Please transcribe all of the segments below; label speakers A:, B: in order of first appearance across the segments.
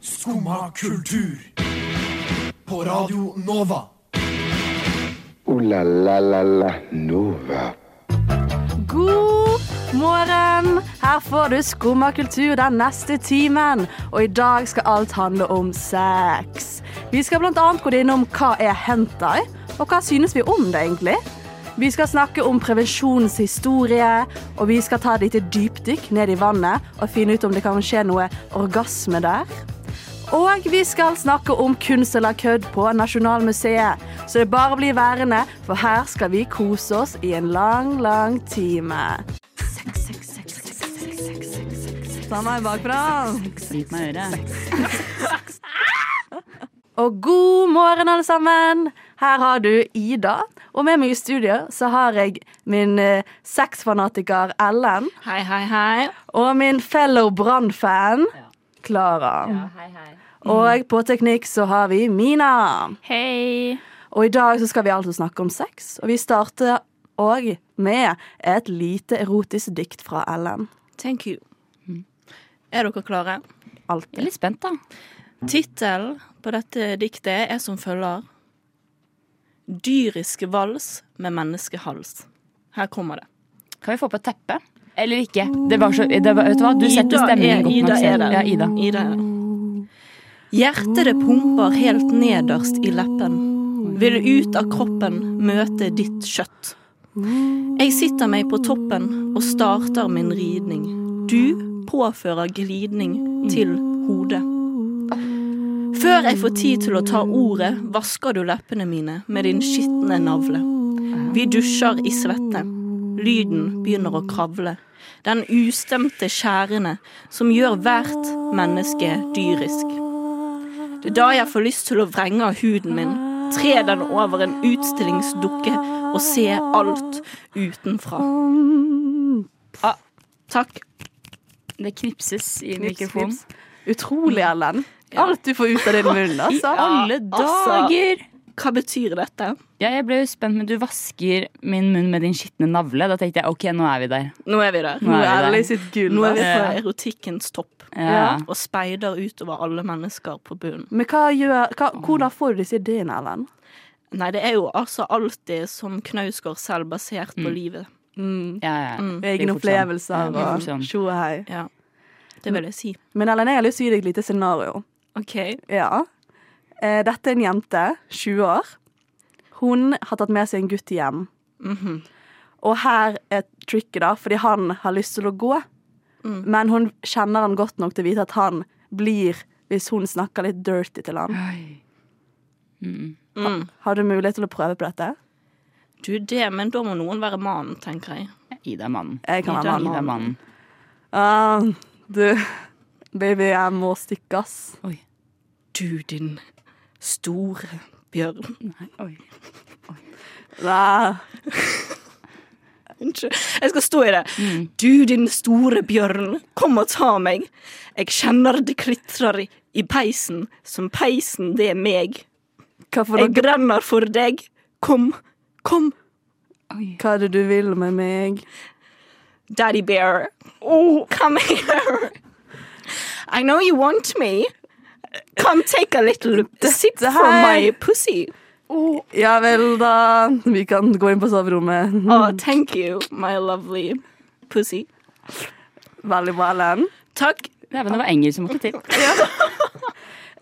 A: Skumma kultur. På Radio Nova.
B: Ooh la la la la Nova.
C: God morgen! Her får du skumma kultur den neste timen. Og i dag skal alt handle om sex. Vi skal bl.a. gå innom hva er hentai, og hva synes vi om det egentlig? Vi skal snakke om prevensjonens historie, og vi skal ta et lite dypdykk ned i vannet og finne ut om det kan skje noe orgasme der. Og vi skal snakke om kunst eller kødd på Nasjonalmuseet. Så det bare blir værende, for her skal vi kose oss i en lang, lang time. Ta meg bakfra.
D: Bit meg i øret.
C: Og god morgen, alle sammen. Her har du Ida. Og med meg i studio så har jeg min eh, sexfanatiker Ellen.
E: Hei, hei, hei.
C: Og min fellow Brann-fan Klara. Og på teknikk så har vi Mina.
E: Hei.
C: Og i dag så skal vi altså snakke om sex, og vi starter òg med et lite erotisk dikt fra Ellen.
E: Thank you.
D: Mm.
E: Er dere klare?
D: Jeg er
C: Alltid.
D: litt spent, da.
E: Tittelen på dette diktet er som følger. Dyrisk vals med menneskehals. Her kommer det.
D: Kan vi få på et teppe? Eller ikke? Det var så, det var, vet du hva? Du setter stemningen godt nok selv. Ja, Ida.
E: Ida er det. Hjertet det pumper helt nederst i leppen. Vil ut av kroppen møte ditt kjøtt. Jeg sitter meg på toppen og starter min ridning. Du påfører glidning til hodet. Før jeg får tid til å ta ordet, vasker du leppene mine med din skitne navle. Vi dusjer i svette. Lyden begynner å kravle. Den ustemte skjærende som gjør hvert menneske dyrisk. Det er da jeg får lyst til å vrenge av huden min, tre den over en utstillingsdukke og se alt utenfra. Ah, takk.
D: Det knipses i
C: Knips,
D: mikrofonen.
C: knips. Utrolig, Ellen. Alt du får ut av din munn, altså.
D: Alle
E: altså.
D: dager!
E: Hva betyr dette?
D: Ja, jeg ble jo spent, men du vasker min munn med din skitne navle. Da tenkte jeg ok, nå er vi der.
E: Nå er vi der.
D: Nå er vi
C: Ellen
D: der.
C: i sitt gull.
E: Nå er vi
C: altså.
E: på erotikkens topp
D: Ja.
E: og speider utover alle mennesker på bunnen.
C: Men hva gjør, hva, hvordan får du disse ideene, Ellen?
E: Nei, det er jo altså alltid som Knausgård selv, basert
D: Mm.
E: på livet.
D: Ja, ja. Det
C: Egne
D: er fort sånn. Ja,
C: opplevelser
D: det er fort
C: og
D: sånn.
C: tjo og hei.
E: Ja. Det vil jeg si.
C: Men Ellen, jeg har lyst til å gi deg et lite scenario.
E: OK.
C: Ja. Eh, Dette er en jente, 20 år. Hun har tatt med seg en gutt hjem. Mhm. Og her er tricket, da, fordi han har lyst til å gå. Men hun kjenner han godt nok til å vite at han blir hvis hun snakker litt dirty til han.
D: Oi.
C: Har du mulighet til å prøve på dette?
E: Du, det, men da må noen være mannen, tenker jeg.
D: Ida er mannen.
C: Jeg kan
D: Ida
C: være
D: Ida er
C: mann.
D: mannen.
C: Ah, du, baby, jeg må stikke, ass.
D: Oi.
E: Du, din store bjørn.
D: Nei, oi.
C: Nei.
E: Unnskyld. Jeg skal stå i det. Du, din store bjørn, kom og ta meg. Jeg kjenner det klitrer i- i peisen, som peisen det er meg.
C: Hva, for
E: Jeg
C: noe,
E: brenner for deg. Kom, kom,
C: hva er det du vil med meg?
E: Daddy Bear. Oh, come here. I know you want me. Come take a little sip from my pussy.
C: Ja vel, da. Vi kan gå inn på soverommet.
E: Oh, thank you, my lovely pussy.
C: Veldig bra, Ellen.
E: Takk.
D: Nei, men det var engelsk som måtte til.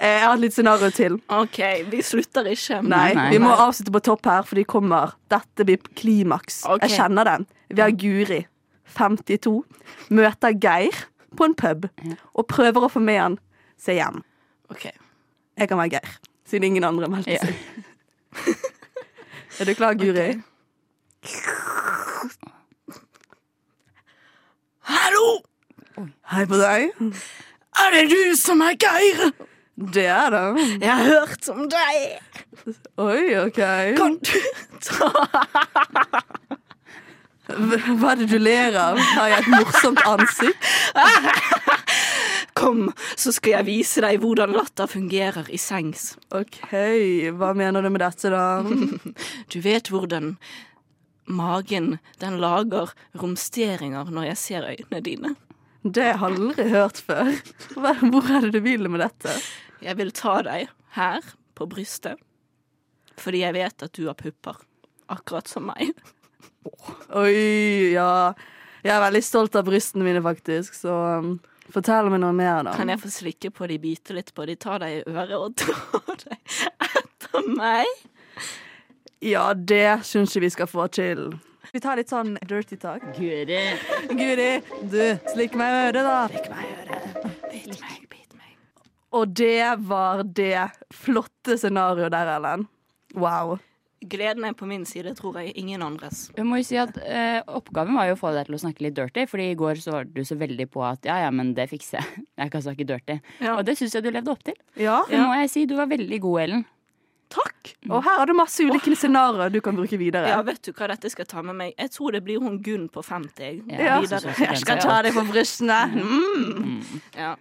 C: Eh, Jeg har et litt scenario til.
E: OK, vi slutter ikke.
C: Nei,
D: nei.
C: Vi må avslutte på topp her, for de kommer. Dette blir klimaks.
E: Ok.
C: Jeg kjenner den. Vi har Guri, 52, møter Geir på en pub og prøver å få med han seg hjem.
E: OK.
C: Jeg kan være Geir, siden ingen andre meldte
D: Ja.
C: seg. Er du klar, Guri?
E: Hallo!
C: Hei på deg.
E: Er det du som er Geir?
C: Det er det.
E: Jeg har hørt om deg.
C: Oi, OK.
E: Kan du ta
C: Hva er det du ler av? Har jeg et morsomt ansikt?
E: Kom, så skal jeg vise deg hvordan latter fungerer i sengs.
C: OK, hva mener du med dette, da?
E: Du vet hvordan magen den lager romsteringer når jeg ser øynene dine.
C: Det har jeg aldri hørt før. Hva- Hvor er det du vil med dette?
E: Jeg vil ta deg her på brystet, fordi jeg vet at du har pupper. Akkurat som meg.
C: Oi, ja. Jeg er veldig stolt av brystene mine, faktisk, så um, fortell meg noe mer, da.
E: Kan jeg få slikke på de, bite litt på de, ta deg i øret og dra deg etter meg?
C: Ja, det syns jeg vi skal få til. Vi tar litt sånn dirty talk. Guri. du, slikk meg i øret, da. Slikk meg i øret. Bit meg, bit meg. Og det var det flotte scenarioet der, Ellen. Wow.
E: Gleden er på min side, tror jeg. Ingen andres.
D: Jeg må jo si at eh, Oppgaven var jo å få deg til å snakke litt dirty, Fordi i går så var du så veldig på at ja, ja, men det fikser jeg. Jeg kan snakke dirty.
E: Ja.
D: Og det syns jeg du levde opp til.
C: Ja,
D: Det Ah, må jeg si. Du var veldig god, Ellen.
E: Takk!
C: Og her har du masse ulike scenarioer du kan bruke videre.
E: Ja, vet du hva dette skal ta med meg? Jeg tror det blir hun Gunn på 50. jeg. Videre.
D: Ja, jeg synes også det.
E: Jeg skal ta
C: deg på brystene.
E: Mm. ja.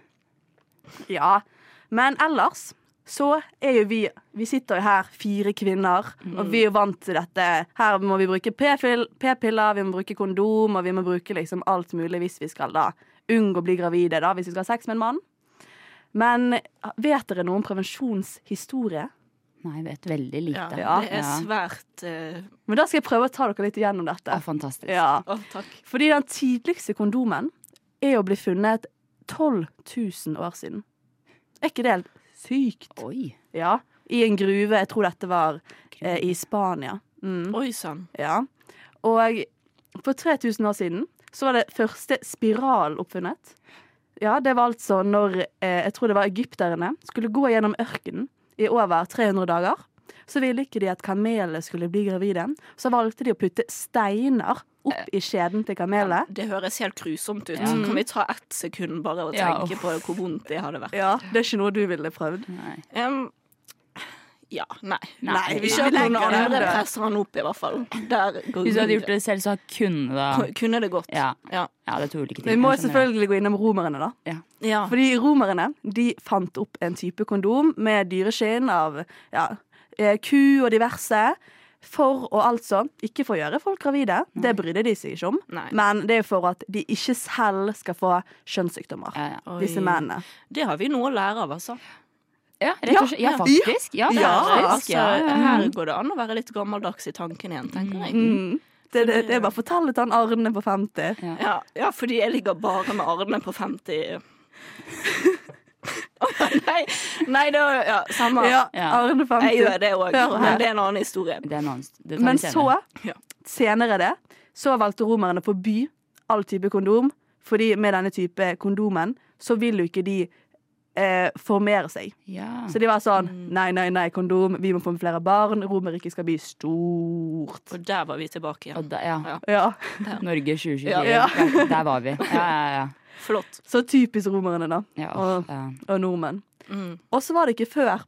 C: Ja. Men ellers så er jo vi Vi sitter jo her, fire kvinner, og vi er jo vant til dette. Her må vi bruke p-fil- p-piller, vi må bruke kondom, og vi må bruke liksom alt mulig hvis vi skal da unngå å bli gravide, da, hvis vi skal ha sex med en mann. Men vet dere noe om prevensjonshistorie?
D: Nei, jeg vet veldig
E: Ja,
D: lite.
E: Det er svært eh,
C: Men da skal jeg prøve å ta dere litt igjennom
D: Ja,
C: dette.
D: fantastisk.
C: Ja.
E: Å, takk.
C: Fordi den tidligste kondomen er å bli funnet 12 000 år siden. Er ikke det helt sykt?
D: Oi.
C: Ja, i en gruve. Jeg tror dette var eh, i Spania. Mm,
E: Oi sann.
C: ja. Og for 3000 år siden så var det første spiral oppfunnet. Ja, det var altså når eh, jeg tror det var egypterne skulle gå gjennom ørkenen i over 300 dager. Så ville ikke de at kamelene skulle bli gravide. Så valgte de å putte steiner opp i skjeden til kamelet.
E: Det høres helt grusomt ut. Kan vi ta ett sekund bare og
D: Ja,
E: tenke på hvor vondt det hadde vært?
C: Ja, Det er ikke noe du ville prøvd.
E: Mm.
D: Nei.
E: Em, ja, nei.
D: Nei,
E: vi
D: vi
E: kjøper noen
C: legger det
E: andre.
C: der.
E: Presser han opp, i hvert fall. Der går
D: Hvis du
E: Gunn.
D: hadde gjort det selv, så kunne da
E: Kunne det gått.
D: Ja.
E: Ja.
D: ja, det er to ulike ting.
C: Vi må
D: jeg skjønner det.
C: selvfølgelig gå innom romerne, da.
E: Ja.
C: Fordi romerne de fant opp en type kondom med dyreskinn av ja, eh, ku og diverse. For å altså ikke få gjøre folk gravide. Det brydde de seg ikke om.
E: Nei.
C: Men det er jo for at de ikke selv skal få kjønnssykdommer.
D: Ja, ja.
E: Oi.
C: Disse mennene.
E: Det har vi noe å lære av, altså.
D: Ja, rett og slett. Ja, faktisk. Ja,
C: Ja,
D: faktisk.
E: altså
D: Ja, ja, ja.
E: Her går det an å være litt gammeldags i tanken igjen, tenker jeg.
C: Det, det, det er bare fortell til han Arne på 50.
D: Ja.
E: Ja, ja, fordi jeg ligger bare med Arne på 50 Å, Nei, nei det var ja, samme.
C: Ja,
D: Ja.
C: Arne 50.
E: Jeg gjør det òg,
C: Hør
E: men
C: her.
E: det er en annen historie.
D: Det er en annen det tar vi
C: Men
D: senere.
C: så,
E: Ja.
C: senere det, så valgte romerne å forby all type kondom, fordi med denne type kondomen så vil jo ikke de eh, formere seg.
D: ja.
C: Så de var sånn nei, nei, nei, kondom, vi må få flere barn, Romerriket skal bli stort.
E: Og der var vi tilbake
D: Og
E: igjen.
D: da, ja.
C: Ja,
D: Norge 2024.
E: Ja.
D: Ja.
C: Ja.
D: Der var vi. Ja, ja, ja.
E: Flott.
C: Så typisk romerne, da.
D: ja,
C: Og,
D: ja.
C: og nordmenn.
E: Mm.
C: Og så var det ikke før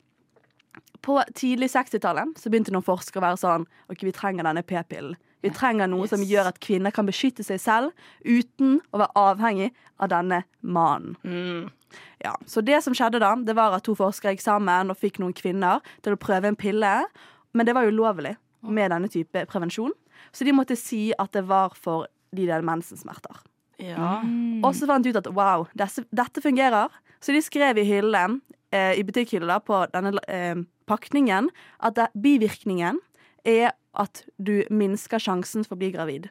C: på tidlig 60-tallet så begynte noen forskere å være sånn Ok, vi trenger denne p-pillen. Vi trenger noe som
E: Yes.
C: gjør at kvinner kan beskytte seg selv uten å være avhengig av denne mannen.
E: Mm.
C: Ja, Så det som skjedde da, det var at to forskere gikk sammen og fikk noen kvinner til å prøve en pille. Men det var jo ulovlig
E: Mm.
C: med denne type prevensjon, så de måtte si at det var for de der mensensmerter.
E: Ja.
D: Mm.
C: Og så fant de ut at wow, desse, dette fungerer. Så de skrev i hyllen, eh, i butikkhylla på denne eh, pakningen at det, bivirkningen er at du minsker sjansen for å bli gravid.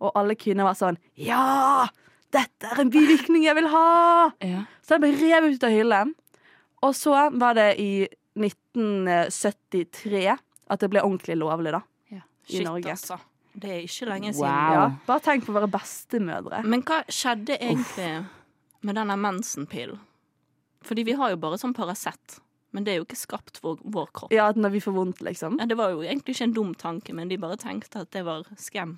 C: Og alle kvinner var sånn Ja! Dette er en bivirkning jeg vil ha!
D: Ja.
C: Så den ble revet ut av hyllen. Og så var det i 1973 at det ble ordentlig lovlig, da. I
E: Shit,
C: Norge.
E: altså. Det er ikke lenge siden.
D: Wow.
C: Ja, bare tenk på våre bestemødre.
E: Men hva skjedde egentlig med denne mensenpillen? Fordi vi har jo bare sånn Paracet, men det er jo ikke skapt for vår kropp.
C: Ja, at når vi får vondt, liksom.
E: Ja, det var jo egentlig ikke en dum tanke, men de bare tenkte at det var skam.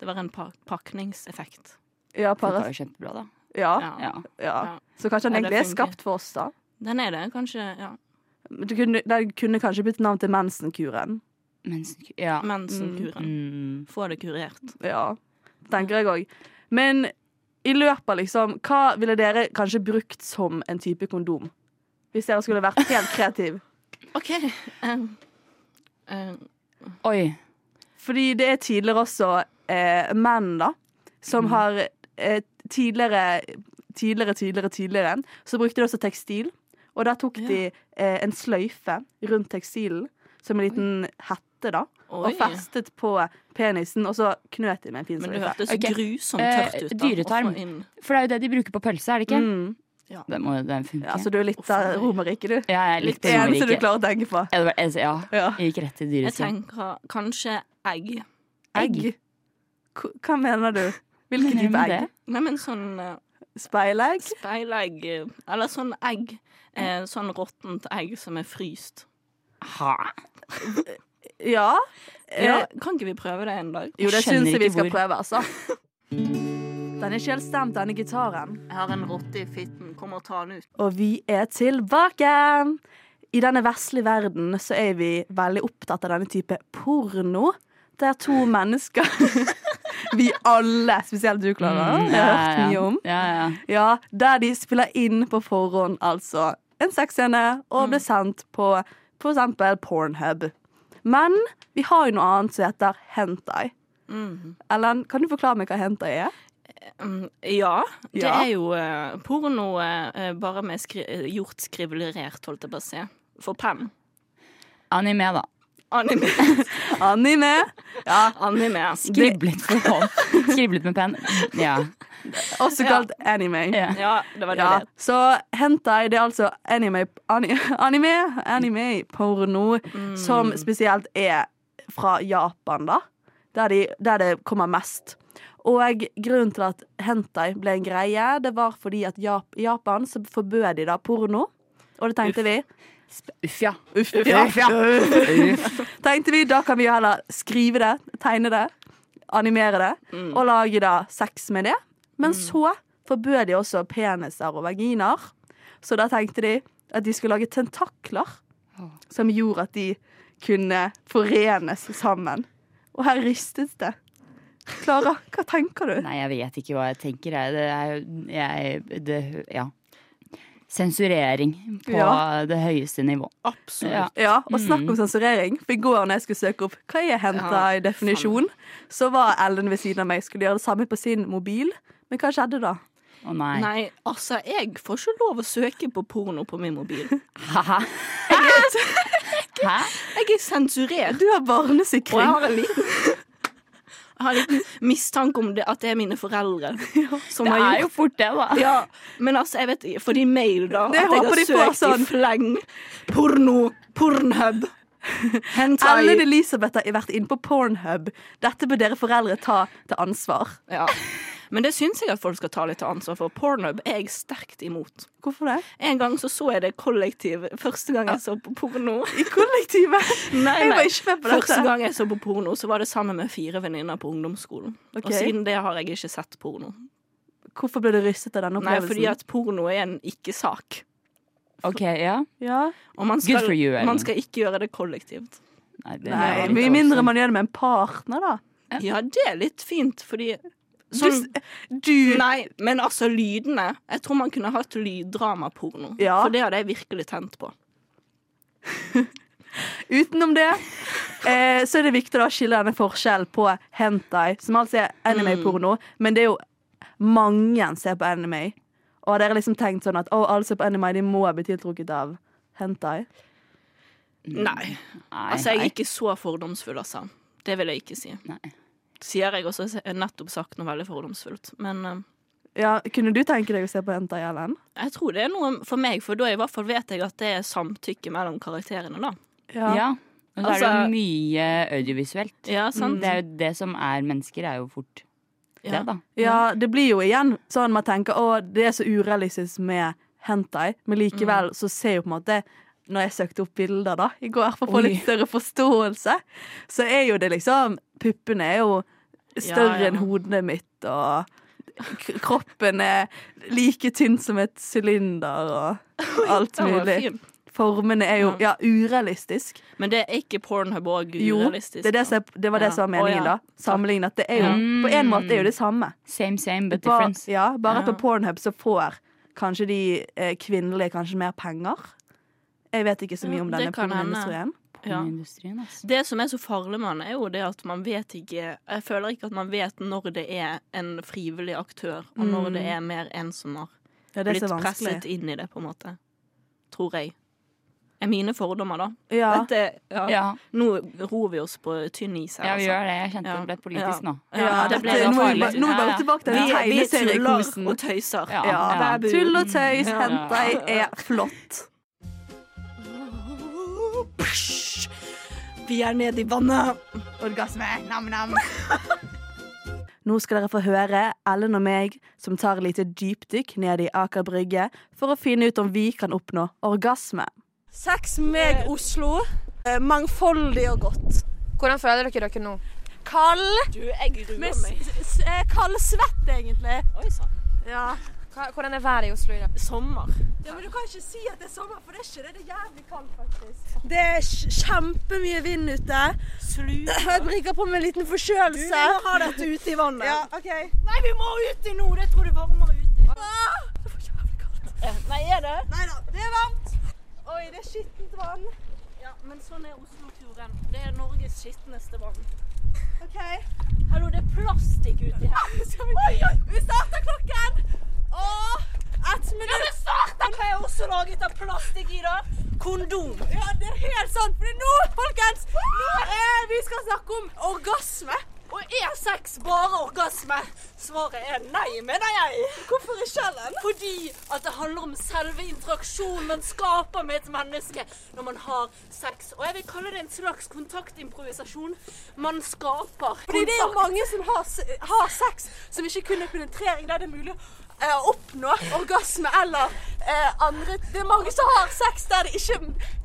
E: Det var en pa pakningseffekt.
C: Ja,
D: Det var
C: paras
D: jo kjempebra, da.
C: ja,
E: Ja.
D: Ja.
C: ja.
E: Ja.
C: Så kanskje den
E: Ja, det
C: egentlig er
E: funker.
C: skapt for oss, da.
E: Den er det, kanskje. Ja.
C: Men Du kunne, den kunne kanskje bytte navn til mensenkuren.
D: Mens, ja.
E: Mensenkuren.
D: Mm.
E: Få det kurert.
C: Ja, tenker jeg òg. Men i løpet av liksom, hva ville dere kanskje brukt som en type kondom? Hvis dere skulle vært helt kreativ.
E: OK. Um, um,
D: Oi.
E: Mm.
C: Fordi det er tidligere også eh, menn, da, som har eh, tidligere, tidligere, tidligere, tidligere, så brukte de også tekstil. Og da tok de eh, en sløyfe rundt tekstilen, som en liten hette, da.
E: Oi.
C: Og festet på penisen, og så knøt de med en fin
E: Men det
C: sløyfe.
E: hørtes
D: Ok.
E: grusomt
D: Eh,
E: tørt ut. da,
D: dyretarm.
E: å få inn.
D: For det er jo det de bruker på pølse, er det ikke?
C: Mm.
D: Den må den funke.
C: Ja, altså, så du er litt
E: Uff, nei.
C: av Romerriket, du.
D: ja, jeg er litt
C: Det eneste du
D: romerike.
C: klarer å tenke på.
D: Ja, det var- jeg- ja,
C: Ja.
D: jeg gikk rett til
E: Jeg
D: dyresiden.
E: tenker kanskje egg.
D: Egg.
C: Hva hva mener du? Hvilken
D: Mener du
C: type
D: med
C: egg?
D: det?
E: Nei, men sånn eh,
C: Speilegg?
E: speilegg eh, Eller sånn egg. Eh, sånn råttent egg som er fryst.
D: Ha.
C: Ja.
E: Ja,
C: Eh,
E: kan ikke vi prøve det en dag?
C: Jo, det
D: skjønner
C: syns jeg vi
D: ikke
C: skal
D: hvor.
C: prøve, altså. Den er ikke helt stemt, denne gitaren.
E: Jeg har en rotte i fitten. Kom og ta den ut.
C: Og vi er tilbake! I denne vesle verden så er vi veldig opptatt av denne type porno. Der to mennesker Vi alle, spesielt du, Klara, har
D: Mm, ja,
C: hørt
D: ja.
C: mye om.
D: Ja, ja.
C: Ja, Der de spiller inn på forhånd, altså en sexscene,
D: Mm.
C: og blir sendt på f.eks. Pornhub. Men vi har jo noe annet som heter hentai.
D: Mm.
C: Ellen, kan du forklare meg hva hentai er?
E: Mm, ja. Det
C: Ja.
E: er jo eh, porno eh, bare med skri eh, gjort skrivelerert, holdt jeg på å si. For penn.
D: Anime, da.
E: Anime.
C: Anime. Ja,
E: Anime.
D: Skriblet for hånd. Skriblet med penn. Ja.
C: også kalt anime.
D: ja.
E: Ja, det var det.
C: Ja,
E: det.
C: så hentai det er altså anime, ani- anime, anime porno som spesielt er fra Japan, da. Der, de, der det kommer mest. Og grunnen til at hentai ble en greie, det var fordi at Jap i Japan så forbød de da porno. Og det tenkte vi.
D: Uff, ja.
C: Uff, ja.
D: Uff, ja. Uff.
C: Tenkte vi, Da kan vi jo heller skrive det, tegne det, animere det, og lage da sex med det. Men så forbød de også peniser og vaginer. Så da tenkte de at de skulle lage tentakler som gjorde at de kunne forenes sammen. Og her ristes det. Klara, hva tenker du?
D: Nei, jeg vet ikke hva jeg tenker. Jeg, det er jo jeg, det, Ja. Sensurering på
C: Ja.
D: det høyeste nivå.
E: Absolutt.
D: Ja.
C: Ja, og snakk om sensurering. For i går når jeg skulle søke opp hva jeg henta i definisjon, så var Ellen ved siden av meg skulle gjøre det samme på sin mobil. Men hva skjedde da?
D: Å nei.
E: Nei, altså, jeg får ikke lov å søke på porno på min mobil.
D: Hæ? Hæ?
E: Jeg er sensurert.
C: Du har
E: Og jeg
C: barnesikring.
E: har en liten Jeg har en liten mistanke om det, at det er mine foreldre som
D: Det
E: har
D: er
E: gjort
D: jo fort det, da.
E: Ja, men altså, jeg vet ikke. Får de mail, da?
C: Det
E: at jeg
C: håper
E: har
C: de får,
E: søkt
C: sånn.
E: i fleng. Porno. Pornhub.
C: Ellen
E: Hentai.
C: Elisabeth har vært inne på Pornhub. Dette bør dere foreldre ta til ansvar.
E: Ja. Men det syns jeg at folk skal ta litt ansvar for. Pornhub er jeg sterkt imot.
C: Hvorfor det?
E: En gang så, så jeg det kollektiv første gang jeg så på porno.
C: I kollektivet.
E: Nei,
C: Jeg var
E: nei.
C: ikke med på dette.
E: Første gang jeg så på porno, så var det sammen med fire venninner på ungdomsskolen.
C: Ok.
E: Og siden det har jeg ikke sett porno.
C: Hvorfor ble du rystet av denne
E: Nei,
C: opplevelsen?
E: fordi at porno er en ikke-sak.
D: OK, ja.
C: ja.
E: Og man skal,
D: Good for you, Ellen.
E: man skal ikke gjøre det kollektivt.
D: Nei, det sånn.
C: Nei,
D: var litt
C: Mye mindre man gjør det med en partner, da.
E: Ja, det er litt fint, fordi sånn,
C: Du, du
E: Nei, men altså, lydene. Jeg tror man kunne hatt lyddramaporno.
C: Ja.
E: For det hadde jeg virkelig tent på.
C: Utenom det eh, så er det viktig da å skille denne forskjellen på hentai, som altså er anime-porno,
E: Mm.
C: men det er jo mange som ser på anime. Og har dere liksom tenkt sånn at å, alle som ser på anime, de må bli tiltrukket av hentai?
E: Nei.
D: Mm. Nei,
E: Altså, jeg
D: nei.
E: er ikke så fordomsfull, altså. Det vil jeg ikke si.
D: Nei.
E: Sier jeg også, jeg har nettopp sagt noe veldig fordomsfullt. Men eh,
C: Ja, Kunne du tenke deg å se på hentai, Ellen?
E: jeg tror det er noe for meg, for da i hvert fall vet jeg at det er samtykke mellom karakterene,
D: Mm,
E: da.
D: Ja. Og så er det
E: Altså-
D: jo mye audiovisuelt.
E: Ja, sant?
D: Det er jo det som er mennesker, er jo fort det,
E: Ja.
D: da.
C: Ja, det blir jo igjen sånn man tenker å, det er så urealistisk med hentai, men
E: Mm.
C: likevel så ser jo på en måte Når jeg søkte opp bilder da i går for å få
D: Oi.
C: litt større forståelse, så er jo det liksom Puppene er jo større
E: Ja, ja.
C: enn hodet mitt, og k- kroppen er like tynn som et sylinder, og alt
E: Den var
C: mulig.
E: fin.
C: Formene er jo ja, urealistisk.
E: Men det er ikke pornhub og
C: Jo,
E: urealistisk.
C: det, er det,
E: da.
C: som, det var det
E: Ja. Mm.
C: som var
E: Å,
C: meningen,
E: ja.
C: da. Sammenlignet. Det er jo,
D: Ja.
C: På en måte er jo det samme.
D: Same, same, but
C: Ba-
D: difference.
C: Ja, bare at på
E: Ja.
C: Pornhub så får kanskje de eh, kvinnelige kanskje mer penger. Jeg vet ikke så mye
E: Ja,
C: om
E: det
C: denne
E: kan hende.
C: pornoindustrien.
E: Ja.
D: Industrien, altså.
E: Det som er så farlig med han, er jo det at man vet ikke Jeg føler ikke at man vet når det er en frivillig aktør, og når det er mer en som har
C: Mm. Ja, det er
E: blitt
C: så
E: presset
C: vanskelig.
E: inn i det, på en måte. Tror jeg. Er mine fordommer, da.
C: Ja.
E: Dette, ja.
D: Ja,
E: Nå ror vi oss på tynn is her,
D: ja, vi
E: altså.
D: gjør det. Jeg kjente
E: Ja.
D: det ble politisk nå.
C: Ja,
E: det ble
C: dette-
E: jo
C: nå er vi
E: farlig.
C: bare- nå er vi bare
D: Ja, ja.
C: tilbake til den
E: Vi, vi tuller
C: tegneseriekosen.
E: og tøyser.
D: Ja.
C: Ja.
E: Babu.
C: Tull og tøys,
E: Ja.
C: hentai er flott.
E: Psj. Vi er nede i vannet.
C: Orgasme, nam-nam. Nå skal dere få høre Ellen og meg som tar et lite dypdykk ned i Aker Brygge for å finne ut om vi kan oppnå orgasme.
F: Sex meg Oslo. Eh, Mangfoldig og godt.
G: Hvordan føler dere dere nå?
F: Kald.
E: Du, jeg gruer
F: Med s- s- eh, kaldsvett, egentlig.
E: Oi sann.
F: Ja.
G: Hva, hvordan er været i Oslo i dag?
E: Sommer.
F: ja, Men du kan ikke si at det er sommer, for det er ikke det. Det er jævlig kaldt, faktisk. Det er kj- kjempemye vind ute.
E: Slu.
F: Jeg brygger på med en liten forkjølelse. Du må ha dette ute i vannet. Ja, ok. Nei, vi må uti nå! Det tror jeg varmer uti. Det var jævlig kaldt.
E: Nei, er det?
F: Nei da, Ah! det er varmt. Oi, det er skittent vann.
E: Ja, men sånn er Oslo-turen. Det er Norges skitneste vann.
F: Ok.
E: Hallo, det er plastikk uti her.
F: Oi, oi, vi starter klokken! Åh, ett minutt. Ja, vi starter!
E: Hva er også laget av plastikk i, da? Kondom.
F: Ja, det er helt sant. For nå, folkens, nå er vi skal snakke om orgasme. Og er sex bare orgasme? Svaret er nei, mener jeg. Hvorfor ikke, Ellen? Fordi at det handler om selve interaksjonen man skaper med et menneske når man har sex. Og jeg vil kalle det en slags kontaktimprovisasjon. Man skaper Fordi det er jo mange som har, s- har sex som ikke kun er penetrering, der det er mulig eh, å oppnå orgasme eller eh, andre Det er mange som har sex der det ikke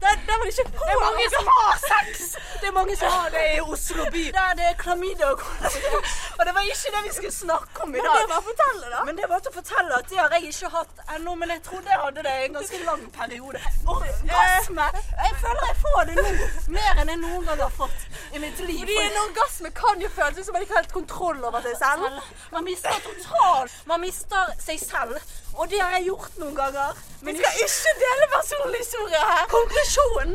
F: Der, der man ikke får Det er mange som har sex! Det er mange som har det i Oslo by. Der det er klamydia og Og det var ikke det vi skulle snakke om i dag. Men det var å fortelle, da. Men det var til å fortelle at det har jeg ikke hatt ennå, men jeg trodde jeg hadde det i en ganske lang periode. Orgasme! Jeg føler jeg får det nå. Mer enn jeg noen gang har fått i mitt liv. Fordi en orgasme kan jo føles ut som man ikke har helt kontroll over seg selv. Man mister totalt Man mister seg selv. Og det har jeg gjort noen ganger. Men vi skal ikke dele personlig historie her. Konklusjonen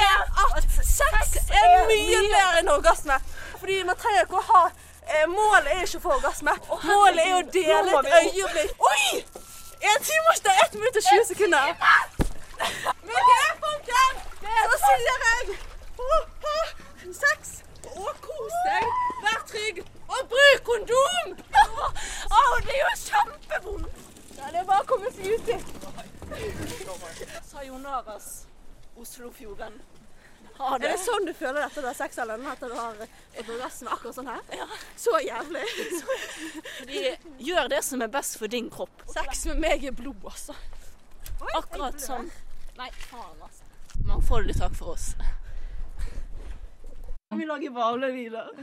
F: er at sex er mye mer enn orgasme. Fordi man trenger ikke å ha eh, Målet er ikke å få orgasme. Målet er å dele et øyeblikk. Oi! En time og 1 minutt og 20 sekunder. Men det er folken! Så sier jeg oh, oh, sex og kos deg. Vær trygg og bruk kondom! Åh, åh, det gjør kjempevondt. Ja, det er bare å komme seg uti.
E: Sayonara, Oslofjorden.
F: Er det sånn du føler dette du har sex eller noe? At du har et orgasme akkurat sånn her? Så jævlig.
E: De gjør det som er best for din kropp.
F: Sex med meg er blod, altså.
E: Akkurat som Nei, faen, altså. Mangfoldig takk for oss. Vi lager hvalelyder.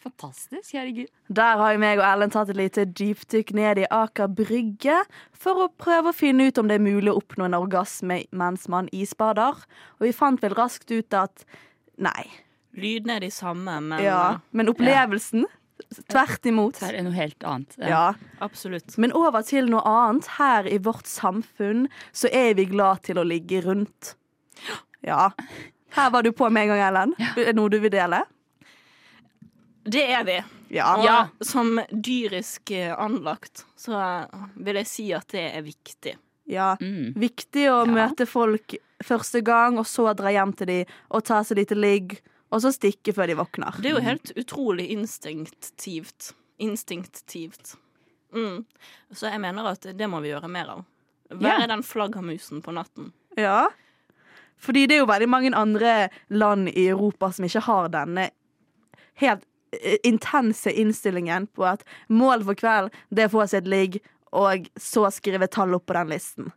D: Fantastisk, herregud.
C: Der har jo meg og Ellen tatt et lite dypdykk ned i Aker Brygge for å prøve å finne ut om det er mulig å oppnå en orgasme mens man isbader. Og vi fant vel raskt ut at nei.
E: Lydene er de samme, men
C: Ja. Men opplevelsen tvert imot.
D: Det er noe helt annet. Ja.
C: Ja.
E: eh, absolutt.
C: Men over til noe annet. Her i vårt samfunn så er vi glad til å ligge rundt. Ja. Her var du på med en gang, Ellen. Er det noe du vil dele?
E: Det er vi.
C: Ja.
E: Og som dyrisk eh, anlagt så eh, vil jeg si at det er viktig.
C: Ja.
D: Mm.
C: Viktig å møte folk første gang, og så dra hjem til de og ta seg lite ligg, og så stikke før de våkner.
E: Det er jo helt utrolig instinktivt. Instinktivt. Mm. Så jeg mener at det må vi gjøre mer av. Være
D: Ja.
E: den flaggermusen på natten.
C: Ja. Fordi det er jo veldig mange andre land i Europa som ikke har denne helt eh, intense innstillingen på at mål for kvelden, det er å få seg et ligg, og så skrive tall opp på den listen.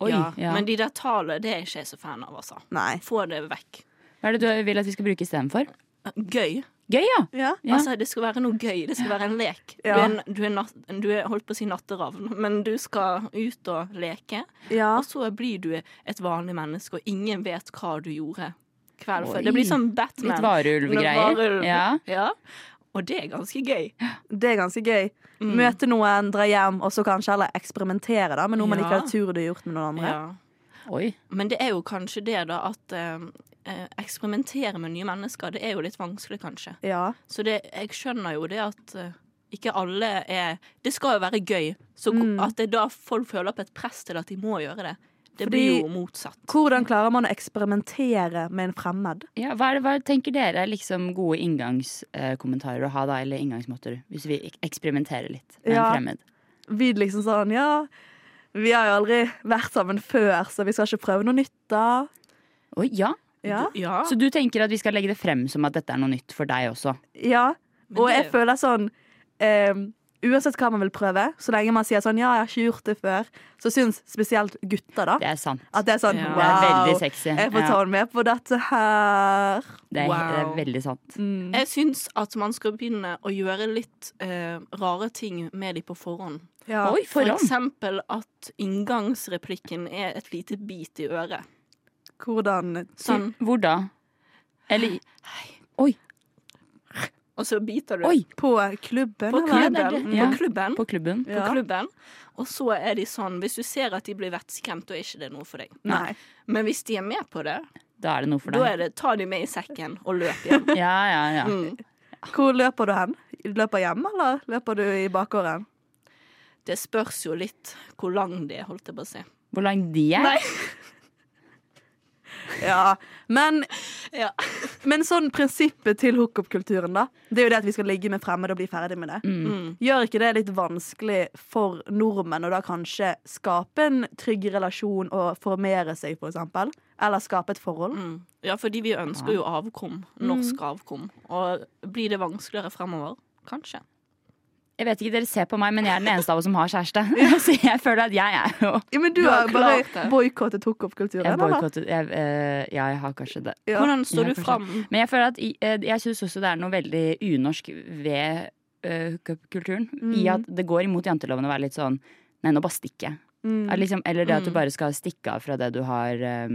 D: Oi, ja.
E: ja. Men de der tallene, det er ikke jeg så fan av, altså.
C: Nei.
E: Få det vekk. Eh,
D: Hva er det du vil at vi skal bruke istedenfor?
E: Gøy.
D: Gøy, ja!
C: Ja.
D: Ja.
E: Altså, det skal være noe gøy. Det skal være en lek.
C: Ja.
E: Du, er, en- du, er natt, du er holdt på å si natteravn, men du skal ut og leke.
C: ja.
E: Og så blir du et vanlig menneske, og ingen vet hva du gjorde kvelden
D: Oi.
E: før. Det blir som
D: Litt
E: Batman.
D: varulvgreier.
E: Varulv.
D: Ja.
E: Ja. Og det er ganske gøy.
C: Det er ganske gøy. Møte noen, dra hjem, og så kanskje heller eksperimentere da, med noe man
E: Ja.
C: ikke hadde tur til å gjort med noen andre.
E: Ja.
D: Oi.
E: Men det er jo kanskje det, da, at eh, eh, eksperimentere med nye mennesker, det er jo litt vanskelig, kanskje.
C: Ja.
E: Så det, jeg skjønner jo det at eh, ikke alle er Det skal jo være gøy. Så ko- at det er da folk føler på et press til at de må gjøre det, det
C: Fordi-
E: blir jo motsatt.
C: Hvordan klarer man å eksperimentere med en fremmed?
D: Ja, hva, er det, hva tenker dere er liksom gode inngangskommentarer å ha da, eller inngangsmåter, hvis vi ek- eksperimenterer litt med
C: Ja.
D: en fremmed?
C: Vi liksom sånn, ja Vi har jo aldri vært sammen før, så vi skal ikke prøve noe nytt da.
D: Oi, ja.
C: Ja.
E: Ja.
D: Så du tenker at vi skal legge det frem som at dette er noe nytt for deg også?
C: ja.
E: Men
C: Og
E: det er
C: jeg
E: jo-
C: føler sånn eh, Uansett hva man vil prøve, så lenge man sier sånn ja, jeg har ikke gjort det før, så syns spesielt gutter da
D: Det er sant.
C: at det er sånn
E: Ja.
D: Det er veldig
C: wow,
D: sexy.
C: jeg får ta
D: Ja,
C: henne med på dette her.
D: det, er, det er
E: Wow.
D: veldig sant.
C: Mm.
E: Jeg syns at man skal begynne å gjøre litt eh, rare ting med de på forhånd.
C: Ja.
D: Oi,
E: For
D: forhånd.
E: eksempel at inngangsreplikken er et lite bit i øret.
C: Hvordan
E: Sånn.
D: Hvor da? Eller
E: Og så biter du
D: Oi!
C: På klubben,
E: på
C: eller?
D: klubben.
E: klubben.
D: Ja.
E: På klubben.
D: På klubben.
E: på klubben. Og så er de sånn Hvis du ser at de blir vettskremt, da er ikke det noe for deg.
C: Nei.
E: Men hvis de er med på det,
D: Da er det noe for
E: da
D: deg.
E: er det ta de med i sekken og løp hjem.
D: Ja, ja, ja.
E: Mm.
C: Hvor løper du hen? Løper hjem, eller løper du i bakgården?
E: Det spørs jo litt hvor lang de er, holdt jeg på å si.
D: Hvor lang de er?
E: Nei.
C: Ja, men,
E: Ja.
C: men sånn prinsippet til hookup-kulturen, da. Det er jo det at vi skal ligge med fremmede og bli ferdig med det.
E: Mm.
C: Gjør ikke det litt vanskelig for nordmenn å da kanskje skape en trygg relasjon og formere seg, for eksempel? Eller skape et forhold?
E: Mm. Ja, fordi vi ønsker jo avkom. Norsk avkom. Og blir det vanskeligere fremover? Kanskje.
D: Jeg vet ikke, Dere ser på meg, men jeg er den eneste av oss som har kjæreste. Så jeg føler at jeg er jo
C: Ja, men du,
E: har
C: har
E: klart
C: bare
E: det.
C: boikottet hookup-kulturen,
D: Jeg
C: eller?
D: boykottet jeg, eh, Ja, jeg har kanskje det.
C: Ja.
E: Hvordan står
D: Ja,
E: du
D: kanskje.
E: fram?
D: Men jeg føler at i- eh, jeg syns også det er noe veldig unorsk ved eh, hookup-kulturen. I
E: Mm.
D: at det går imot janteloven å være litt sånn Nei, nå bare stikker jeg. Er Liksom, eller det at du
E: Mm.
D: bare skal stikke av fra det du har eh,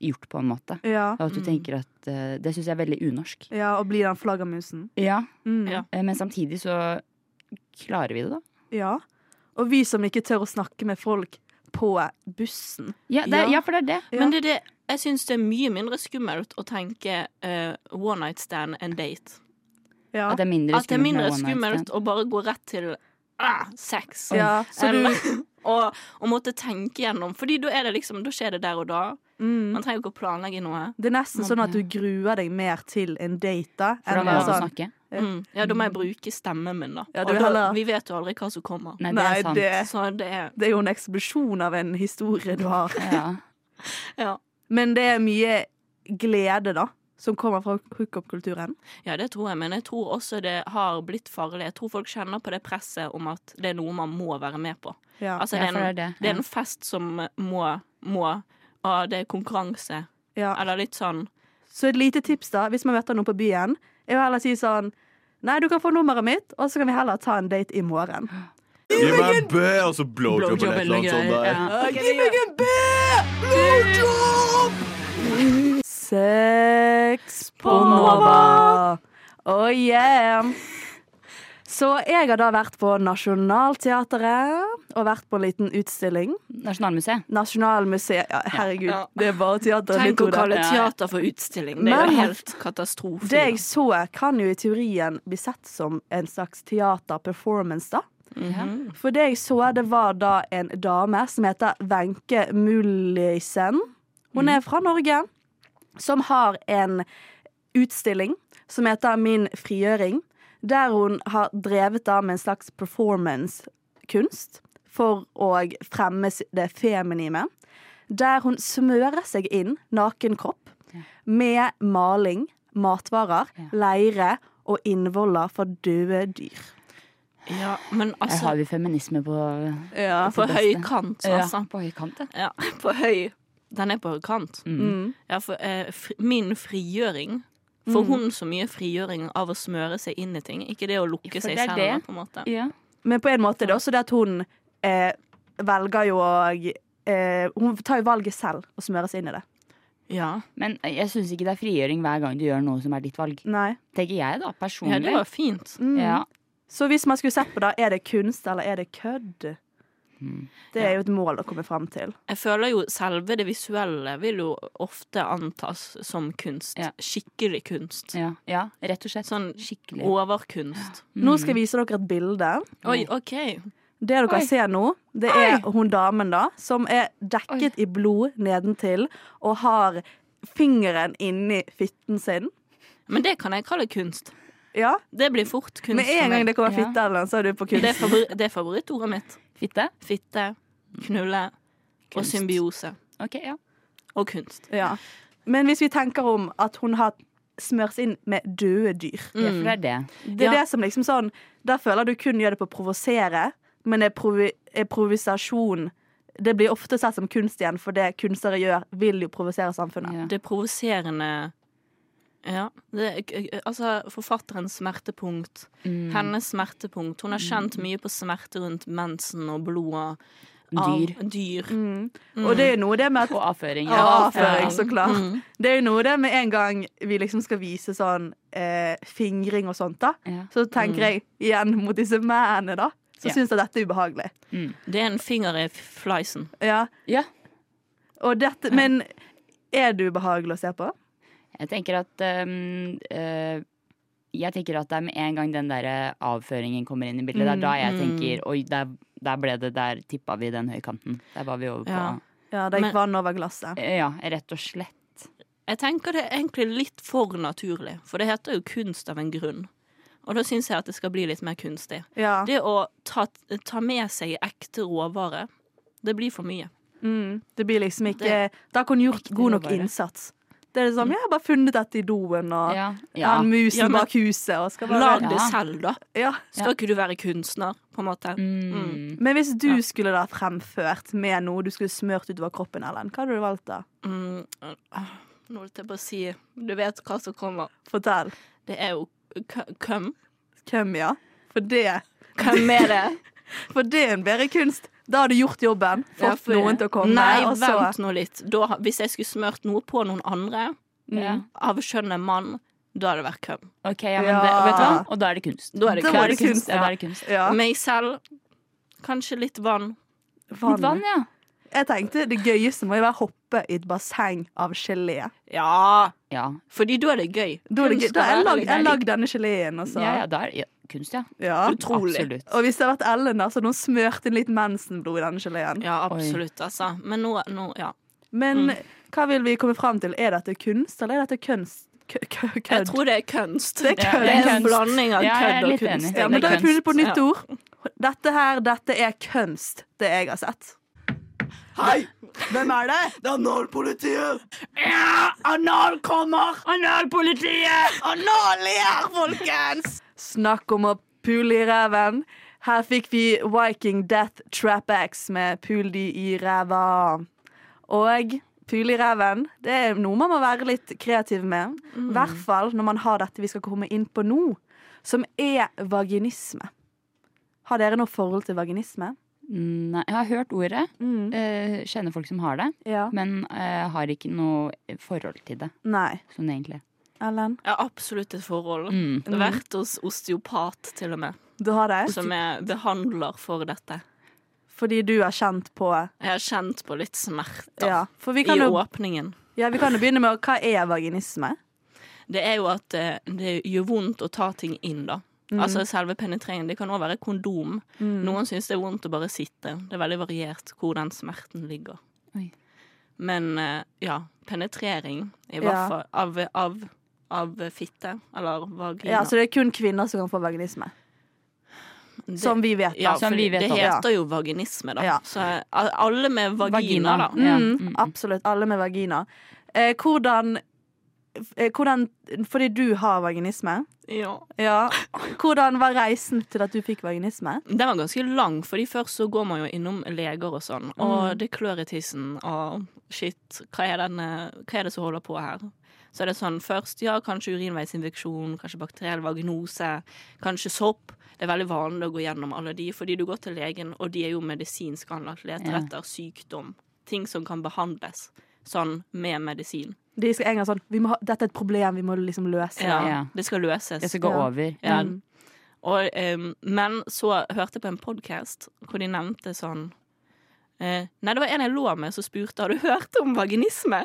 D: gjort, på en måte.
C: Ja.
D: Og at du
E: Mm.
D: tenker at eh, Det syns jeg er veldig unorsk.
C: ja, og bli den flaggermusen.
D: Ja,
C: Mm.
E: Ja.
D: eh, Men samtidig så klarer vi det, da.
C: ja. Og vi som ikke tør å snakke med folk på bussen.
D: Ja, det,
E: Ja.
D: er- ja for det er det.
C: Ja.
E: Men det er det jeg syns det er mye mindre skummelt å tenke eh, one night stand enn date.
C: Ja.
D: At det er mindre
E: At det er
D: skummelt.
E: mindre
D: med one night stand.
E: skummelt å bare gå rett til ah, sex.
C: Ja, så du
E: Enn å, å måtte tenke gjennom. Fordi da er det liksom, da skjer det der og da.
C: mm.
E: Man trenger ikke å planlegge noe.
C: Det er nesten sånn at du gruer deg mer til en date da,
D: For da
C: enn
D: må
C: en
D: man
C: sånn
D: snakke.
E: Mm. Ja, da må jeg bruke stemmen min, da.
C: Ja, du
E: og
C: vil
E: da,
C: heller-
E: vi vet jo aldri hva som kommer.
D: Nei, det
C: Nei,
D: er sant.
C: det,
E: Så det er
C: det er jo en eksplosjon av en historie du har.
D: Ja.
E: Ja,
C: Men det er mye glede, da, som kommer fra hookup-kulturen.
E: ja det tror jeg. Men jeg tror også det har blitt farlig. Jeg tror folk kjenner på det presset om at det er noe man må være med på.
C: Ja.
E: Altså, det,
D: Ja,
E: er
D: for
E: en,
D: det er det,
E: det
D: ja.
E: er en fest som må, må og det er konkurranse.
C: Ja.
E: Eller litt sånn
C: Så et lite tips, da, hvis man møter noen på byen, er å heller si sånn Nei, du kan få nummeret mitt, og så kan vi heller ta en date i morgen.
H: Gi meg en bø, og så blowjob
D: Blowjob
H: eller et eller
D: eller
H: annet sånt.
D: greier,
H: Der.
D: ja.
C: Sex på Nova. Oh yeah. Så jeg har da vært på Nationaltheatret og vært på en liten utstilling.
D: Nasjonalmuseet.
C: Nasjonalmuseet ja, Herregud,
E: Ja.
C: det er bare teater.
E: Tenk å
C: Litt, Oda.
E: kalle
D: Ja.
E: teater for utstilling. Det er
C: Men-
E: jo helt katastrofe.
C: Det jeg så, kan jo i teorien bli sett som en slags teaterperformance, da. For det jeg så, det var da en dame som heter Wenche Mullisen. Hun er fra Norge. Som har en utstilling som heter Min frigjøring. Der hun har drevet da med en slags performance-kunst for å fremme det feminime. Der hun smører seg inn naken kropp med maling, matvarer, leire og innvoller for døde dyr.
E: Ja, men
D: Her
E: altså
D: har vi feminisme på
C: Ja.
E: På
D: det
E: høy
D: beste.
E: kant,
D: ja.
E: altså.
D: På høykant, ja.
E: Ja, på høy Den er på høy kant.
D: Mm.
E: Ja, for eh, fri, min frigjøring For hun så mye frigjøring av å smøre seg inn i ting. Ikke det å lukke
D: For
E: seg
D: det er
E: i
D: det.
E: hendene, på en måte.
D: ja.
C: Men på en måte er det også det at hun eh, velger jo å eh, Hun tar jo valget selv og smører seg inn i det.
E: Ja.
D: Men jeg syns ikke det er frigjøring hver gang du gjør noe som er ditt valg.
C: Nei.
D: Tenker jeg, da.
E: ja,
D: Personlig.
E: det var fint.
C: Mm.
D: Ja.
C: Så hvis man skulle sett på det, er det kunst eller er det kødd? Det er jo et mål å komme fram til.
E: Jeg føler jo selve det visuelle vil jo ofte antas som kunst.
D: Ja.
E: Skikkelig kunst.
D: Ja, ja, rett og slett.
E: Sånn
D: skikkelig.
E: overkunst.
C: Nå skal jeg vise dere et bilde.
E: Oi, OK.
C: Det dere ser nå, det er hun damen da, som er dekket i blod nedentil og har fingeren inni fitten sin.
E: Men det kan jeg kalle kunst.
C: Ja,
E: Det blir fort kunst.
C: Med en
E: for meg.
C: gang det kommer
D: Ja.
C: fitte eller noe, så er du på
E: Det er,
C: kunst.
E: favori det er favorittordet mitt.
D: Fitte?
E: Fitte, knulle og
D: Kunst.
E: symbiose.
D: Ok, ja.
E: Og kunst.
C: Ja. Men hvis vi tenker om at hun har smørs inn med døde dyr
D: Ja,
E: Mm.
D: for det er det.
C: Det er
E: Ja.
C: det som liksom sånn Der føler du kun gjør det på å provosere, men er provi er provisasjon Det blir ofte sett som kunst igjen, for det kunstnere gjør, vil jo provosere samfunnet.
D: Ja.
E: Det provoserende Ja. Det, altså forfatterens smertepunkt.
D: Mm.
E: Hennes smertepunkt. Hun har kjent mye på smerte rundt mensen og blodet av
D: Dyr.
E: dyr.
C: Mm.
E: Mm.
C: Og det er jo noe det med at
D: Og avføring.
C: Ja,
D: Ja.
C: avføring, så klart. Det er jo noe det med en gang vi liksom skal vise sånn eh, fingring og sånt, da.
D: Ja.
C: Så tenker jeg igjen mot disse mennene, da. Som
D: Ja.
C: syns at dette er ubehagelig.
E: Det er en finger i fleisen.
C: Ja.
D: Ja.
C: Og dette, men er det ubehagelig å se på?
D: Jeg tenker at ehm, eh, Jeg tenker at det er med en gang den der avføringen kommer inn i bildet, det er da jeg tenker Oi, der, der ble det, der tippa vi den høykanten. Der var vi over på
E: Ja.
C: Ja, det gikk
E: Men-
C: vann over glasset.
D: Eh, Ja, rett og slett.
E: Jeg tenker det er egentlig litt for naturlig, for det heter jo kunst av en grunn. Og da syns jeg at det skal bli litt mer kunstig.
C: Ja.
E: Det å ta, ta med seg ekte råvare, det blir for mye.
C: Mm. Det blir liksom ikke Da har hun gjort god nok
D: råvare.
C: innsats. Det er liksom, Jeg har bare funnet dette i doen, og ja.
D: Ja. ja.
C: musen
E: Ja, men-
C: bak huset, og skal
E: Lag
C: bare
E: det
D: Ja.
E: selv, da.
C: ja.
E: Skal ikke du være kunstner, på en måte?
D: Mm.
C: Men hvis du skulle da fremført med noe du skulle smørt utover kroppen, Ellen, hva hadde du valgt da?
E: Mm. ah, Nå holdt jeg på å si Du vet hva som kommer.
C: Fortell.
E: Det er jo kø- køm.
C: Hvem, ja? For det,
E: Hvem er det?
C: for det er en bedre kunst. Da har du gjort jobben. Fått
E: Ja, for-
C: noen til å komme. altså.
E: Nei,
C: og så-
E: vent nå litt. Da, ha- hvis jeg skulle smørt noe på noen andre
D: Ja.
E: av skjønnet mann, da hadde det vært køm.
D: Ok, ja, men
C: Ja.
D: det, vet du hva? Og da er det kunst.
E: Da er det
C: Da
E: køm.
C: var det kunst,
D: Ja, da
C: ja.
D: er det kunst.
C: Ja.
E: Meg selv, kanskje litt vann.
D: Litt vann, ja.
C: Jeg tenkte det gøyeste må jo være å hoppe i et basseng av gelé.
E: Ja!
D: Ja,
E: Fordi da er det gøy.
C: Da er det gøy.
E: Kunst
C: Da har
E: skal
C: jeg
E: være
C: lagd jeg
E: litt-
C: lagd denne geleen, og så
D: ja, ja da er det ja, kunst, ja.
C: Ja.
E: Utrolig.
D: Absolutt.
C: Og hvis det hadde vært Ellen, da, så hadde hun smørt inn litt mensenblod i denne geleen.
E: Ja, absolutt, altså. Men nå, nå ja.
C: Men hva vil vi komme fram til? Er dette kunst, eller er dette kunst? Kø- kø-
E: Jeg
C: Kødd?
E: tror det er kunst.
C: Det er
E: Ja,
C: kødd.
E: det er en
D: Kunst.
E: blanding av
D: Ja, jeg er
E: kødd og
D: litt
E: kunst.
D: enig.
C: Ja, men
D: det
C: da
D: er
C: har jeg funnet på
E: kunst.
C: nytt ord. Dette her, dette er kunst, det jeg har sett.
A: Hei,
C: Hvem er det?
A: det er Nordpolitiet!
E: Anal kommer! Analpolitiet!
A: Analer, folkens!
C: Snakk om å pule i ræven. Her fikk vi Viking Death Trap X med pul de i ræva. Og pule i ræven, det er noe man må være litt kreativ med. I hvert fall når man har dette vi skal komme inn på nå, som er vaginisme. Har dere noe forhold til vaginisme?
D: Nei, jeg har hørt ordet. Eh, kjenner folk som har det,
C: Ja.
D: men eh, har ikke noe forhold til det,
C: Nei.
D: sånn egentlig.
C: Ellen?
E: Ja, absolutt et forhold.
D: Mm.
E: Jeg har Vært hos osteopat, til og med,
C: Du har det?
E: som er behandler for dette.
C: Fordi du har kjent på
E: Jeg har kjent på litt smerter
C: Ja, for vi
E: i
C: kan, jo,
E: åpningen.
C: ja, vi kan jo begynne med å- hva er vaginisme?
E: Det er jo at eh, det gjør vondt å ta ting inn, da. Altså selve penetreringen. Det kan òg være kondom. Noen syns det er vondt å bare sitte. Det er veldig variert hvor den smerten ligger.
D: Oi.
E: Men eh, ja, penetrering i hvert
C: Ja.
E: fall av, av, av fitte eller vagina.
C: Ja, altså, Så det er kun kvinner som kan få vaginisme?
E: det,
C: Som vi vet, da.
E: ja,
D: som
E: for
D: vi vet
E: det
D: om.
E: heter jo vaginisme, da.
C: Ja.
E: Så eh, alle med vagina, da.
D: Ja.
C: Mm, Absolutt. Alle med vagina. Eh, hvordan, eh, hvordan Fordi du har vaginisme.
E: Ja.
C: Ja. Hvordan var reisen til at du fikk vaginisme?
E: Den var ganske lang, fordi først så går man jo innom leger og sånn,
D: Mm.
E: og det klør i tissen, og shit, hva er, denne, hva er det som holder på her? Så er det sånn først, ja, kanskje urinveisinfeksjon, kanskje bakteriell vaginose, kanskje sopp. Det er veldig vanlig å gå gjennom alle de, fordi du går til legen, og de er jo medisinsk anlagt, leter
D: Ja.
E: etter sykdom, ting som kan behandles. sånn med medisin.
C: De skal en gang sånn vi må ha, Dette er et problem vi må liksom løse.
E: Ja,
D: Ja.
E: Det skal løses.
D: Det skal gå
C: Ja.
D: over.
E: Ja. Og, em, men så hørte jeg på en podkast hvor de nevnte sånn eh, Nei, det var en jeg lå med som spurte Har du hørt om vaginisme.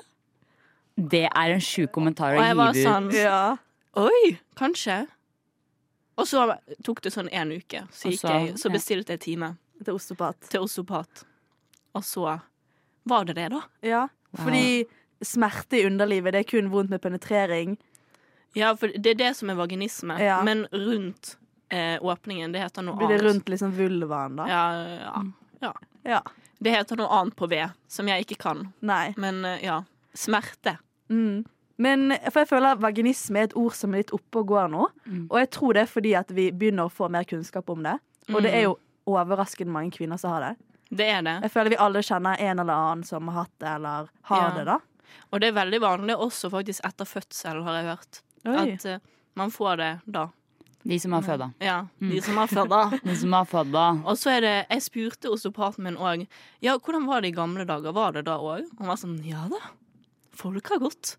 D: Det er en sjuk kommentar
E: Og
D: å
E: jeg var
D: hive ut.
E: sånn Oi, kanskje. Og så tok det sånn en uke. Så,
D: Og
E: gikk
D: så-
E: jeg, så
D: ja.
E: bestilte jeg time
C: Til osteopat.
E: til osteopat. Og så var det det, da.
C: Ja.
D: Wow.
C: Fordi smerte i underlivet, det er kun vondt med penetrering.
E: Ja, for det er det som er vaginisme.
C: Ja.
E: Men rundt eh, åpningen. Det heter noe
C: Blir det
E: annet.
C: rundt Mm. liksom vulvaen, da?
E: Ja, ja, ja.
C: Ja.
E: Det heter noe annet på V, som jeg ikke kan.
C: Nei.
E: Men eh, ja. Smerte.
C: Mm. Men for jeg føler vaginisme er et ord som er litt oppe og går nå.
E: Mm.
C: Og jeg tror det er fordi at vi begynner å få mer kunnskap om det. Og det er
E: Mm.
C: jo overraskende mange kvinner som har det.
E: Det er det.
C: Jeg føler vi alle kjenner en eller annen som har hatt det, eller har
E: Ja.
C: det, da.
E: Og det er veldig vanlig også faktisk etter fødsel, har jeg hørt.
C: Oi.
E: At eh, man får det da.
D: De som har føda.
E: Ja, de som har født da.
D: De som har føda.
E: Og så er det, jeg spurte osteopaten min òg Ja, hvordan var det i gamle dager. Var det da òg? Han var sånn Ja da. Folk har gått.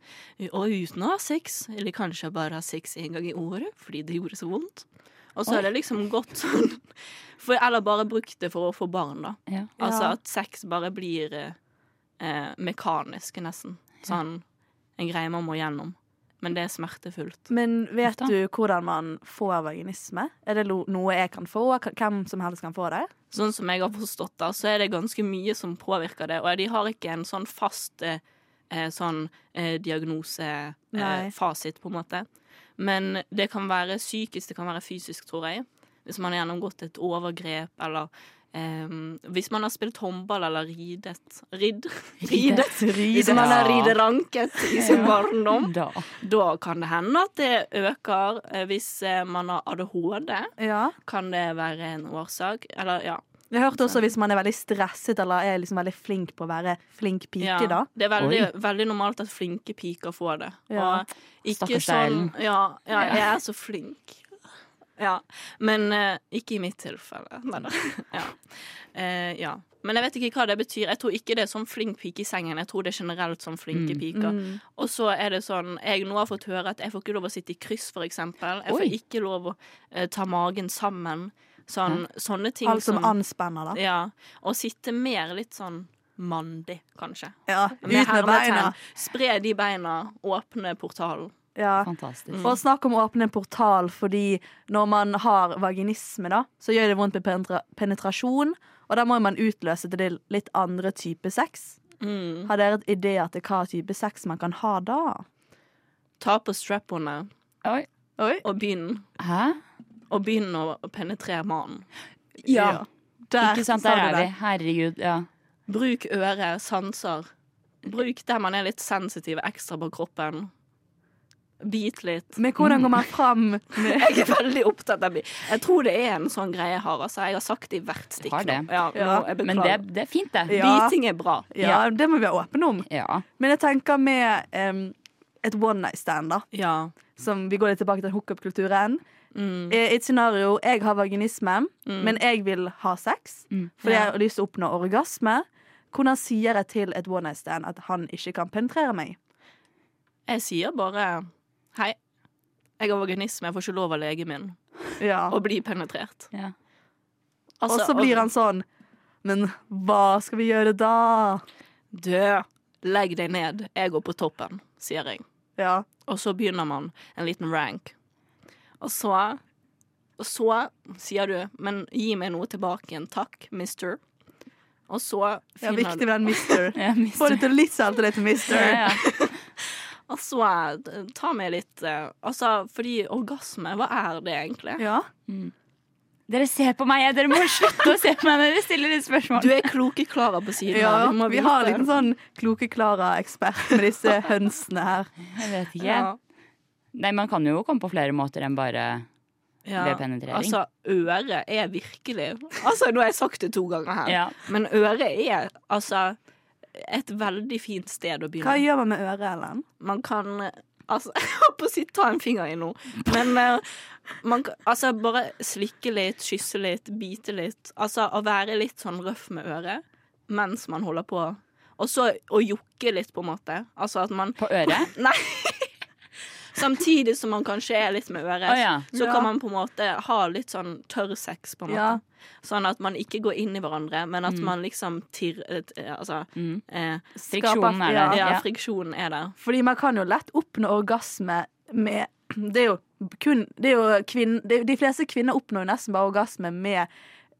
E: Og uten å ha sex. Eller kanskje bare ha sex en gang i året fordi det gjorde så vondt. Og så har det liksom gått sånn. For, eller bare brukt det for å få barn, da.
D: Ja.
E: Altså
C: Ja.
E: at sex bare blir eh, eh, mekanisk, nesten. Sånn en greie man må gjennom. Men det er smertefullt.
C: Men vet
D: Uff da.
C: du hvordan man får vaginisme? Er det lo- noe jeg kan få? K- Hvem som helst kan få det?
E: Sånn som jeg har forstått det, så er det ganske mye som påvirker det. Og de har ikke en sånn fast eh, eh, sånn eh, diagnosefasit,
C: Nei.
E: eh, fasit, på en måte. Men det kan være psykisk, det kan være fysisk, tror jeg. Hvis man har gjennomgått et overgrep, eller eh, hvis man har spilt håndball eller ridet Ridd? Ridet. Hvis man har rideranket i sin barndom.
D: Da.
E: Da kan det hende at det øker. Eh, Hvis eh, man har ADHD,
C: Ja.
E: kan det være en årsak. Eller ja.
C: Jeg har hørt også hvis man er veldig stresset eller er liksom veldig flink på å være flink pike,
E: ja.
C: da.
E: Det er veldig, veldig normalt at flinke piker får det.
C: Ja.
E: Og ikke
D: Stakkars
E: sånn
D: Ellen.
E: ja, ja, jeg er så flink. Ja. Men eh, ikke i mitt tilfelle. Nei da. Ja. Eh, ja. Men jeg vet ikke hva det betyr. Jeg tror ikke det er sånn flink pike i sengen. Jeg tror det er generelt sånn flinke
D: Mm.
E: piker. Og så er det sånn Jeg nå har fått høre at jeg får ikke lov å sitte i kryss, for eksempel. Jeg
D: Oi.
E: får ikke lov å eh, ta magen sammen. Sånn, sånne ting
C: Alt som anspenner, da.
E: Ja. Og sitte mer litt sånn mandig, kanskje.
C: Ja, ut
E: Med
C: med
E: hermetegn.
C: beina.
E: Spre de beina. Åpne portalen.
C: Ja.
D: Fantastisk.
C: Og snakk om å åpne en portal, fordi når man har vaginisme, da, så gjør det vondt med penetra penetrasjon, og da må man utløse til litt andre type sex.
E: Mm.
C: Har dere et idé til hva type sex man kan ha da?
E: Ta på strap-onene
D: Oi.
E: og begynn.
D: Hæ?
E: Og begynn å penetrere mannen.
C: Ja. Der
D: Ikke sant,
C: sa
D: der
C: du
D: er vi.
C: det.
D: Herregud. Ja.
E: Bruk øre, sanser. Bruk der man er litt sensitiv ekstra på kroppen. Bit litt.
C: Men hvordan går man fram med
E: Jeg er veldig opptatt av bi. Jeg tror det er en sånn greie jeg har. Altså. Jeg har sagt det i hvert stikk.
D: Har det.
E: nå. Ja,
C: Ja.
E: nå, jeg
D: Men
E: beklager.
D: det, det er fint, det.
C: Ja.
E: Biting er bra.
C: Ja, det må vi være åpne om.
D: Ja.
C: Men jeg tenker med em, et one night stand, da.
E: Ja.
C: Som vi går litt tilbake til hookup-kulturen. Eh,
E: Mm.
C: I et scenario jeg har vaginisme, men jeg vil ha sex fordi jeg har lyst til å oppnå orgasme. Hvordan sier jeg til et one night stand at han ikke kan penetrere meg?
E: Jeg sier bare hei. Jeg har vaginisme, jeg får ikke lov av legen min
C: Ja.
E: å bli penetrert.
D: Ja.
C: Og
E: Altså,
C: så blir han sånn Men hva skal vi gjøre da?
E: Død. Legg deg ned. Jeg går på toppen, sier jeg.
C: Ja.
E: Og så begynner man en liten rank. Og så Og så sier du Men gi meg noe tilbake igjen. Takk, mister. Og så
C: Det er
E: finner
C: viktig
E: du
C: med den mister.
D: Ja, mister.
C: Få det til litt selvtillit til mister.
D: Ja, ja.
E: Og så eh, d- ta meg litt eh, Altså, fordi orgasme, hva er det egentlig?
C: Ja.
D: Dere ser på meg, dere må slutte å se på meg når dere stiller de spørsmål.
E: Du er kloke Klara på siden.
C: ja.
E: her, du må
C: Vi
E: vite.
C: har en liten sånn kloke Klara-ekspert med disse hønsene her.
D: Jeg vet ikke.
E: ja.
D: Nei, man kan jo komme på flere måter enn bare
E: Ja.
D: Ved penetrering.
E: Altså, øret er virkelig Altså, nå har jeg sagt det to ganger her,
D: Ja.
E: men øret er altså et veldig fint sted å
C: Hva
E: begynne.
C: gjør man med øret, Ellen?
E: Man kan eh, Altså, jeg holdt på å si ta en finger i noe, men eh, man kan Altså, bare slikke litt, kysse litt, bite litt. Altså, å være litt sånn røff med øret mens man holder på. og så å jokke litt, på en måte. Altså at man
D: På øret?
E: Nei. Samtidig som man kanskje er litt med øret,
D: Å, ja.
E: så
C: Ja.
E: kan man på en måte ha litt sånn tørr sex, på en måte.
C: Ja.
E: Sånn at man ikke går inn i hverandre, men at man liksom tirr... eh, Altså
D: Mm.
E: eh,
D: Friksjonen er
E: ja,
D: der. Ja.
E: friksjonen er der.
C: Fordi man kan jo lett oppnå orgasme med Det er jo kun det er jo kvinn, det er, jo- De fleste kvinner oppnår jo nesten bare orgasme med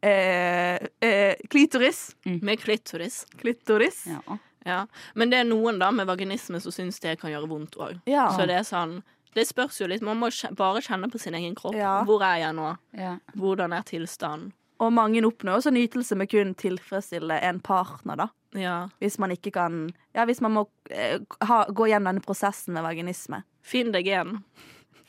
C: eh, eh, klitoris.
E: Med klitoris.
C: Klitoris. Ja.
D: Ja.
E: Ja. Men det er noen da med vaginisme som syns det kan gjøre vondt òg.
C: Ja.
E: Så det er sånn Det spørs jo litt. Man må kje- bare kjenne på sin egen kropp.
C: Ja.
E: Hvor er jeg nå?
D: Ja.
E: Hvordan er tilstanden?
C: Og mange oppnår også nytelse med kun tilfredsstille en partner, da.
E: Ja.
C: Hvis man ikke kan Ja, hvis man må eh, ha, gå gjennom denne prosessen med vaginisme.
E: Finn deg en.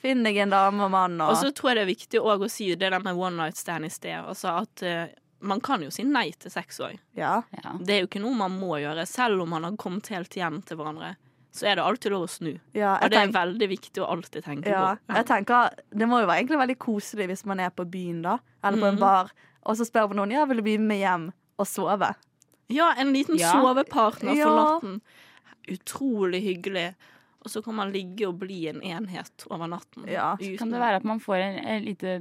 C: Finn deg en dame og mann og
E: Og så tror jeg det er viktig også å si det der med one night stand i sted. Altså at eh, man kan jo si nei til sex òg.
C: Ja.
D: Ja.
E: Det er jo ikke noe man må gjøre. Selv om man har kommet helt hjem til hverandre, så er det alltid lov å snu.
C: ja
E: Og
C: jeg
E: det er
C: tenker,
E: veldig viktig å alltid tenke
C: ja,
E: på.
C: jeg tenker Det må jo være egentlig veldig koselig hvis man er på byen, da. Eller
D: Mhm.
C: på en bar, og så spør man noen Ja, vil du bli med hjem og sove.
E: Ja, en liten
D: Ja.
E: sovepartner for
C: Ja.
E: natten. Utrolig hyggelig. Og så kan man ligge og bli en enhet over natten.
C: Ja.
E: Uten-
D: Kan det være at man får en, en lite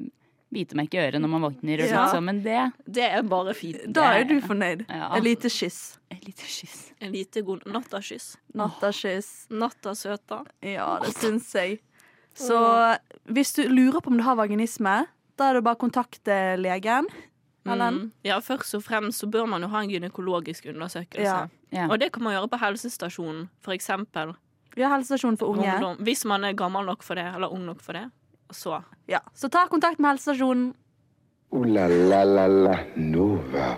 D: bitemerke i øret når man våkner? Og
C: Ja.
D: sånt, så, men det
E: Det er bare fint.
C: Da er du fornøyd.
D: Ja.
C: Et lite kyss.
D: Et lite kyss.
E: En lite god nattakyss.
C: Nattakyss.
E: Natta søta.
C: Ja, det syns jeg. Så hvis du lurer på om du har vaginisme, da er det bare å kontakte legen. Eller
D: Mhm.
E: Mm. Ja, først og fremst så bør man jo ha en gynekologisk undersøkelse.
C: Ja.
D: Ja.
E: Og det kan man gjøre på helsestasjonen, for eksempel.
C: vi har helsestasjon for unge.
E: Ungdom. Hvis man er gammel nok for det, eller ung nok for det. Så.
C: Ja. Så ta kontakt med helsestasjonen.
B: Ooh la la la la Nova.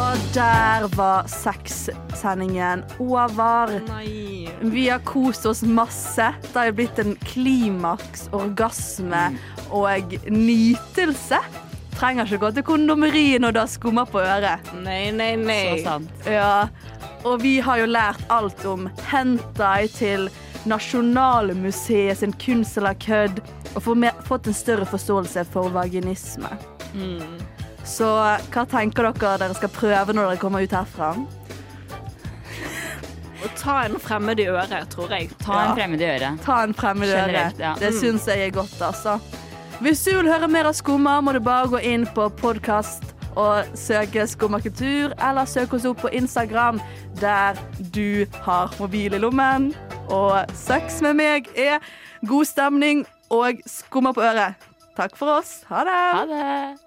C: Og der var sexsendingen over.
E: Nei.
C: Vi har kost oss masse. Det har jo blitt en klimaks, orgasme og nytelse. Trenger ikke gå til kondomeriet når det har skumma på øret.
E: Nei, nei, nei.
D: Så sant.
C: Ja, og vi har jo lært alt om hentai til Nasjonalmuseet sin kunst eller kødd, og få mer- fått en større forståelse for vaginisme. Så hva tenker dere dere skal prøve når dere kommer ut herfra?
E: Å ta en fremmed i øret, tror jeg.
D: Ta en fremmed i øret.
C: Ta en fremmed øre.
D: Generelt, ja.
C: Det syns jeg er godt, altså. Hvis du vil høre mer av Skumma, må du bare gå inn på podkast og søke Skumma kultur, eller søke oss opp på Instagram, der du har mobil i lommen. Og sex med meg er god stemning og skumma på øret. Takk for oss. Ha det.
D: Ha det.